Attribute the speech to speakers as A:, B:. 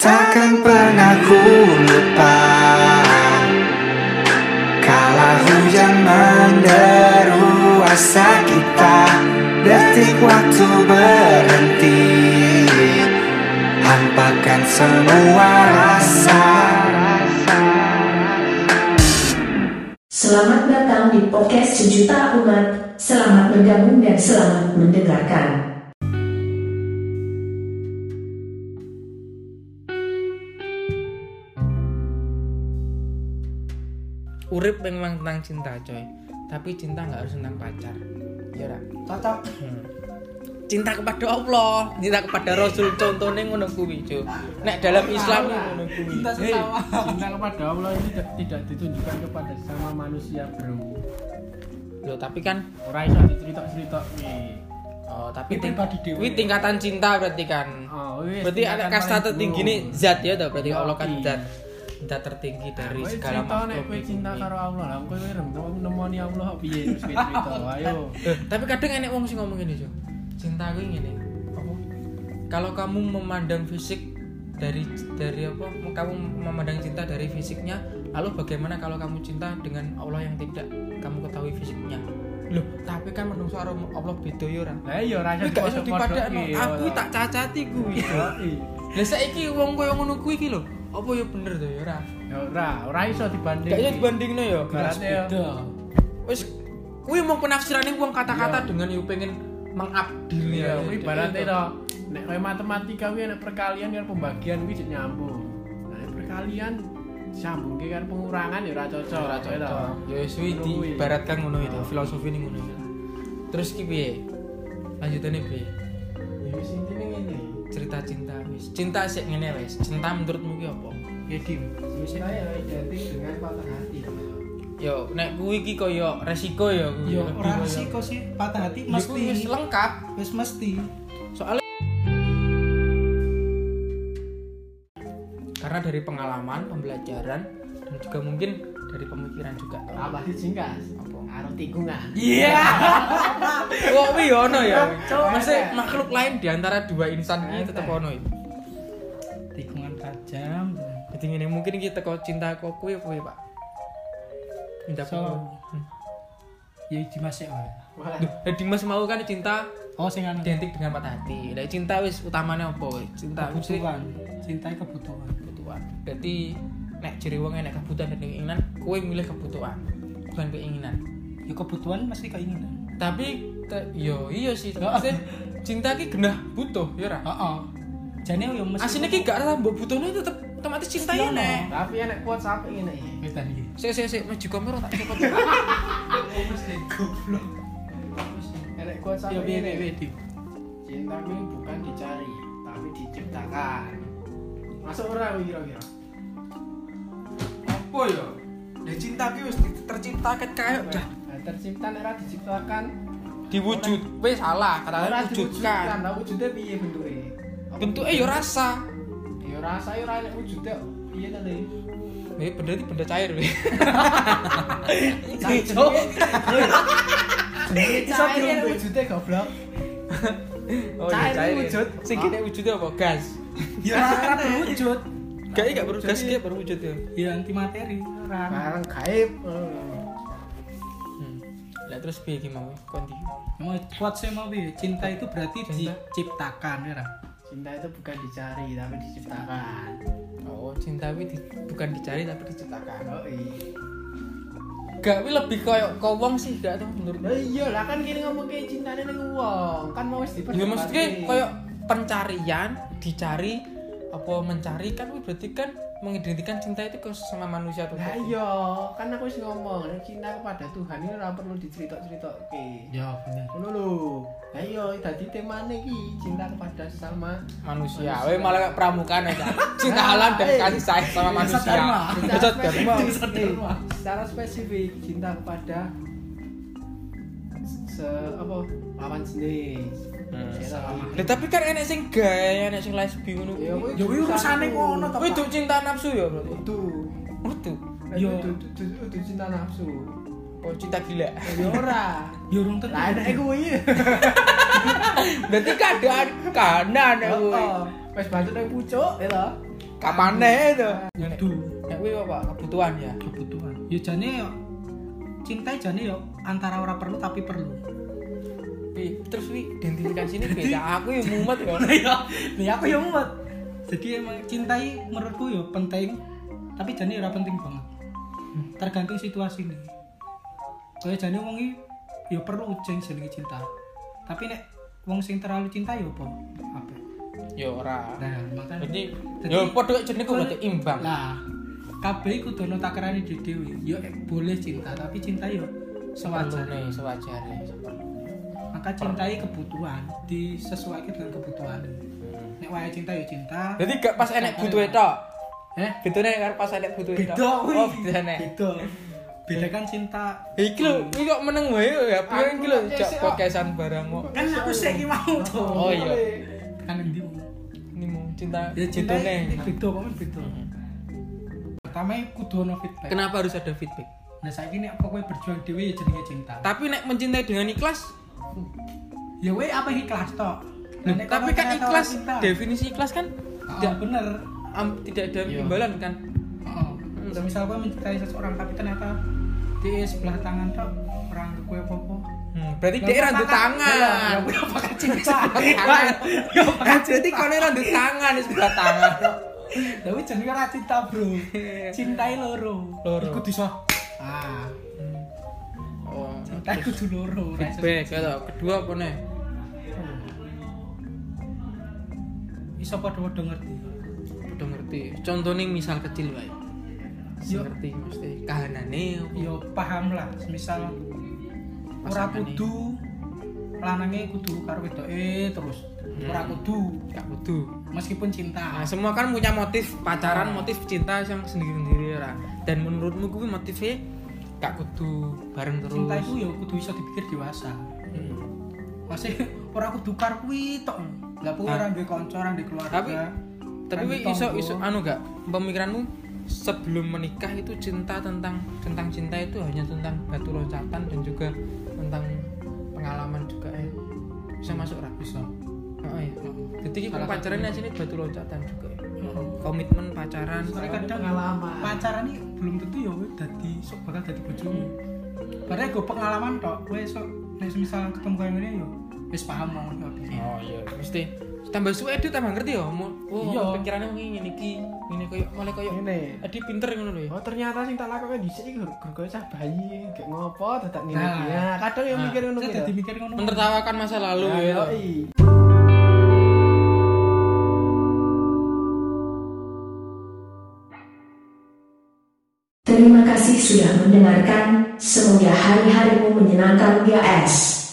A: takkan pernah ku lupa Kala hujan menderu asa kita Detik waktu berhenti Hampakan semua rasa
B: Selamat datang di podcast Sejuta Umat. Selamat bergabung dan selamat mendengarkan.
C: Urip memang tentang cinta coy Tapi cinta nggak harus tentang pacar Ya ora?
D: cocok
C: Hmm. Cinta kepada Allah Cinta kepada Rasul Contohnya ngono kuwi cuy Nek dalam Islam ini ngono kuwi
E: Hei, cinta kepada Allah ini tidak, tidak ditunjukkan kepada sama manusia bro
C: Loh tapi kan
E: orang iso dicerita-cerita nih
C: oh, tapi
E: Ini
C: ting-
E: pribadi dewe.
C: kuwi tingkatan cinta berarti kan
E: oh, wis,
C: Berarti
E: tingkatan
C: ada kasta
E: paling
C: tertinggi
E: dhuwur.
C: nih zat ya toh Berarti
E: Yo,
C: Allah kan
E: iya.
C: zat Zat tertinggi dari
E: Kowe
C: segala
E: cerita nek
C: makhluk
E: kowe
C: di
E: cinta
C: bumi.
E: karo Allah lah kowe rem tau nemoni Allah kok piye terus kowe cerita ayo
C: Eh, Tapi kadang enek wong sing ngomong gini cuy Cinta gue gini
E: Apa?
C: kalau kamu memandang fisik dari dari apa kamu memandang cinta dari fisiknya lalu bagaimana kalau kamu cinta dengan Allah yang tidak kamu ketahui fisiknya loh tapi kan menungso karo Allah beda ya ora
E: lah iya rasa
C: Kuwi gak iso dipadakno aku tak cacati kuwi lah saiki wong koyo ngono kuwi iki lho apa ya bener to ya ora
E: ya ora ora iso dibanding
C: gak iso dibandingno ya
E: Ibaratnya ya.
C: wis kuwi mau penafsirane wong kata-kata dengan yo pengen mengabdir
E: iya kuwi ibaratnya to nek kowe matematika kuwi nek perkalian kan pembagian kuwi jek nyambung Nah, nek perkalian sambung kan pengurangan ya ora cocok ora cocok
C: ya wis kuwi
E: Ngono kuwi.
C: diibaratkan ngono itu filosofi ini ngono itu terus ki piye lanjutane piye
E: ya wis intine ngene
C: cerita cinta wis cinta sik ngene wis cinta menurutmu ki apa
E: ya dim
D: Cinta ya identik dengan patah hati
C: yo nek kuwi ki koyo resiko ya kuwi
D: Yo
C: Lebih
D: orang
C: koyo-
D: resiko sih patah hati
C: Ya, kuwi wis
D: mesti
C: lengkap
D: Wis mesti
C: soalnya karena dari pengalaman pembelajaran dan juga mungkin dari pemikiran juga
E: apa sih jingkas
C: Apa?
E: karo tikungan
C: Iya. Kok kuwi ono ya. Mesti makhluk lain di antara dua insan iki tetep ono iki.
D: Tikungan tajam
C: Jadi ngene mungkin iki teko cinta kok kuwi apa ya, Pak? Cinta apa?
D: So-
C: Hmm.
D: Ya Dimas ya
E: Wah,
C: Duh, nah Dimas mau kan cinta
D: Oh sing anu
C: identik dengan patah hati. Lah cinta wis utamanya apa wis? Cinta wis
D: Kebutuhan Cinta kebutuhan
C: kebutuhan. Jadi nek jere wong enek kebutuhan dan keinginan, kowe milih kebutuhan, bukan keinginan.
D: Ya kebutuhan mesti keinginan Oh.
C: Tapi te- yo iya sih, maksudnya cinta ki genah butuh ya ora?
D: Heeh Jane yo mesti Iya,
C: Asine ki gak rasa mbok butuhne tetep otomatis cinta ya nek.
E: tapi enak kuat sampe ngene iki
D: Wis tadi iki.
C: Sik sik sik maju kamera tak cepet.
E: enak kuat sampe
D: Ya piye piye
E: ngene
D: piye, Dim?
E: cinta kuwi bukan dicari tapi diciptakan masuk ora kuwi kira-kira
C: Apa ya? Lah cinta ki wis tercipta ket kae udah
E: Nah, tercipta nek ora diciptakan
C: diwujud. Wis salah,
E: ora
C: katanya
E: diwujudkan
C: wujudkan.
E: lah nah, wujudnya piye bentuke Apa?
C: Bentuke ya rasa.
E: ya rasa ya ora enak wujudnya piye ta tadi
C: Eh benda iki benda cair weh.
E: ya. Bisa dirubah ya, wujudnya goblok
C: Oh,
E: Cair
C: iya,
E: ini wujud.
C: Sing kene wujude apa? Gas.
D: Ya ora ora berwujud
C: Gak gak perlu gas ki berwujud ya.
D: Ya anti materi Ora
E: barang gaib
C: Hmm. Lah terus piye ki mau konti?
D: Mau kuat sih mau piye? Cinta itu berarti
C: Cinta.
D: diciptakan ya ora?
E: cinta itu bukan dicari tapi diciptakan
C: Oh, cinta kuwi di- bukan dicari tapi diciptakan.
E: oh
C: Gak kuwi lebih koyo kau wong sih gak tau menurut
E: Lah iya lah kan kini ngomong kayak cintanya ning wong, kan mau wis
C: Ya
E: diperdebatke.
C: maksudnya kayak pencarian dicari apa mencari kan kuwi berarti kan mengidentikan cinta itu ke sama manusia tuh.
E: Lah iya, kan aku wis ngomong nek cinta kepada Tuhan ini ora perlu dicerita-ceritokke.
D: Ya bener.
E: Ngono lho. Lah iya dadi temane iki cinta kepada sesama.
C: manusia.
E: Manusia.
C: Weh malah kayak pramukaan aja. Cinta Allah dan
E: eh.
C: kasih sayang sama manusia.
D: dharma.
C: Dasar dharma.
E: spesifik, eh, secara spesifik cinta kepada se apa lawan jenis.
C: Hmm. Lah, tapi kan enek sing gay, enek sing lesbi ngono.
E: Ya kuwi
D: Ya, kuwi urusane ngono to.
C: Kuwi duk cinta nafsu ya berarti.
E: Itu.
C: Waduh.
E: Yo,
D: Yo.
E: itu cinta nafsu. Eh,
C: Oh, cinta gila.
E: Ya ora.
D: Ya urung tentu.
E: Lah enak kuwi.
C: Berarti keadaan kanan kuwi.
E: Wes bantu nang pucuk ya to.
C: kapan nih itu
D: Kudu
C: nek kuwi apa kebutuhan ya
D: kebutuhan. Ya jane yo cinta jane yo antara ora perlu tapi perlu.
C: Wi, terus wi identifikasi ini beda aku yang mumet ya
D: Iya, nih aku yang muat. Jadi emang cintai menurutku yo penting, tapi jane ora penting banget. Hmm. Tergantung situasi nih. Kayak jane wong iki yo perlu ujian jenenge cinta. Tapi nek wong sing terlalu cinta yo apa? Apa?
C: ya ora
D: Nah, makanya
C: jadi
D: Jadi-
C: ya padha jenenge kok berarti imbang
D: lah kabeh kudu ono takarane dhewe. Yo eh, boleh cinta, tapi cinta yo sewajarnya.
C: sewajarnya sewajarnya
D: Maka cintai kebutuhan, disesuaikan dengan kebutuhan. Nek wae cinta yo cinta.
C: Hmm. jadi gak pas enek butuh itu
D: Eh?
C: betulnya kan pas enek butuh itu
D: beda wih
C: oh beda nek
D: beda beda kan cinta
C: iki lho iki kok meneng wae lho, ya piye
E: Aku
C: iki lho
E: tak
C: jak
E: cek, kok.
C: podcastan barang kok
D: kan aku sih iki mau tuh
C: oh iya
D: kan endi wong?
C: ini mau cinta Hmm.
D: ya cinta ini
C: betulnya
D: beda kok beda pertama kudu ono feedback
C: kenapa harus ada feedback
D: nah saiki nek pokoknya berjuang dhewe ya jenenge cinta
C: tapi nek mencintai dengan ikhlas
D: ya we apa ikhlas tok Nah, nek
C: tapi
D: kono
C: kan
D: ternyata
C: ikhlas
D: orang cinta,
C: definisi ikhlas kan
D: ya bener
C: am- tidak ada imbalan kan
D: Heeh. Nah,
C: Hmm.
D: misal kowe mencintai seseorang tapi ternyata di sebelah tangan tok orang kowe apa-apa
C: Hmm, berarti
D: Lah,
C: dia
D: kok
C: randu
D: makan- Lah,
C: tangan
D: lah, kowe apakah cinta
C: tangan. kan berarti kau ini randu tangan di sebelah tangan
D: Tapi jenenge ora cinta, Bro. Cintai loro.
C: Loro.
D: Iku diso. Ah,
C: oh
D: cintai kudu loro. ora iso
C: feedback ya toh. kedua apa nih
D: siji. Iso padha-padha ngerti.
C: udah ngerti contohnya misal kecil wae Sing
D: Yo.
C: ngerti mesti kahanane apa?
D: Yo paham lah, semisal ora
C: Pasangan
D: kudu lanange kudu karo wedoke terus.
C: Hmm.
D: Ora kudu
C: gak kudu
D: meskipun
C: nah,
D: cinta.
C: semua kan punya motif pacaran motif cinta yang sendiri-sendiri ora dan menurutmu gue motifnya gak kudu bareng terus
D: Cinta itu yo kudu iso dipikir dewasa.
C: Hmm.
D: Masih ora kudu karo kuwi tok. Lah pokoke
C: Nah.
D: ora duwe kanca, ora duwe keluarga.
C: tapi tapi
D: Kan
C: wi iso
D: ditonggo.
C: iso anu gak pemikiranmu sebelum menikah itu cinta tentang tentang cinta itu hanya tentang batu loncatan dan juga tentang pengalaman juga ya bisa masuk ra
D: iso.
C: oh, iya. jadi kita
D: Salah
C: pacaran
D: satunya.
C: di sini batu loncatan juga ya.
D: Heeh.
C: komitmen pacaran
D: Soalnya kadang
E: pengalaman.
D: pacaran nih belum tentu ya weh dadi sok bakal dadi bojomu. Padahal gue pengalaman tok, gue sok nek misal ketemu kayak gini yo wis paham mau ngono piye.
C: oh iya mesti tambah suwe dia tambah ngerti ya mau oh
D: Iya.
C: pikirannya mungkin ini ki ini koyo malah koyo
E: Ini.
C: adi pinter ngono lho ya
E: Oh ternyata sing tak lakukan dhisik iki gur gur cah bayi, gak ngopo dadak ngene
D: Nah. Ah.
E: iki. Ya, kadang yang
C: Nah.
E: mikir ngono
D: Saya
E: gitu.
D: dadi mikir ngono.
C: menertawakan masa lalu
E: Nah,
D: iya,
C: ya
E: yoi.
B: Terima kasih sudah mendengarkan. Semoga hari-harimu menyenangkan, ya, guys.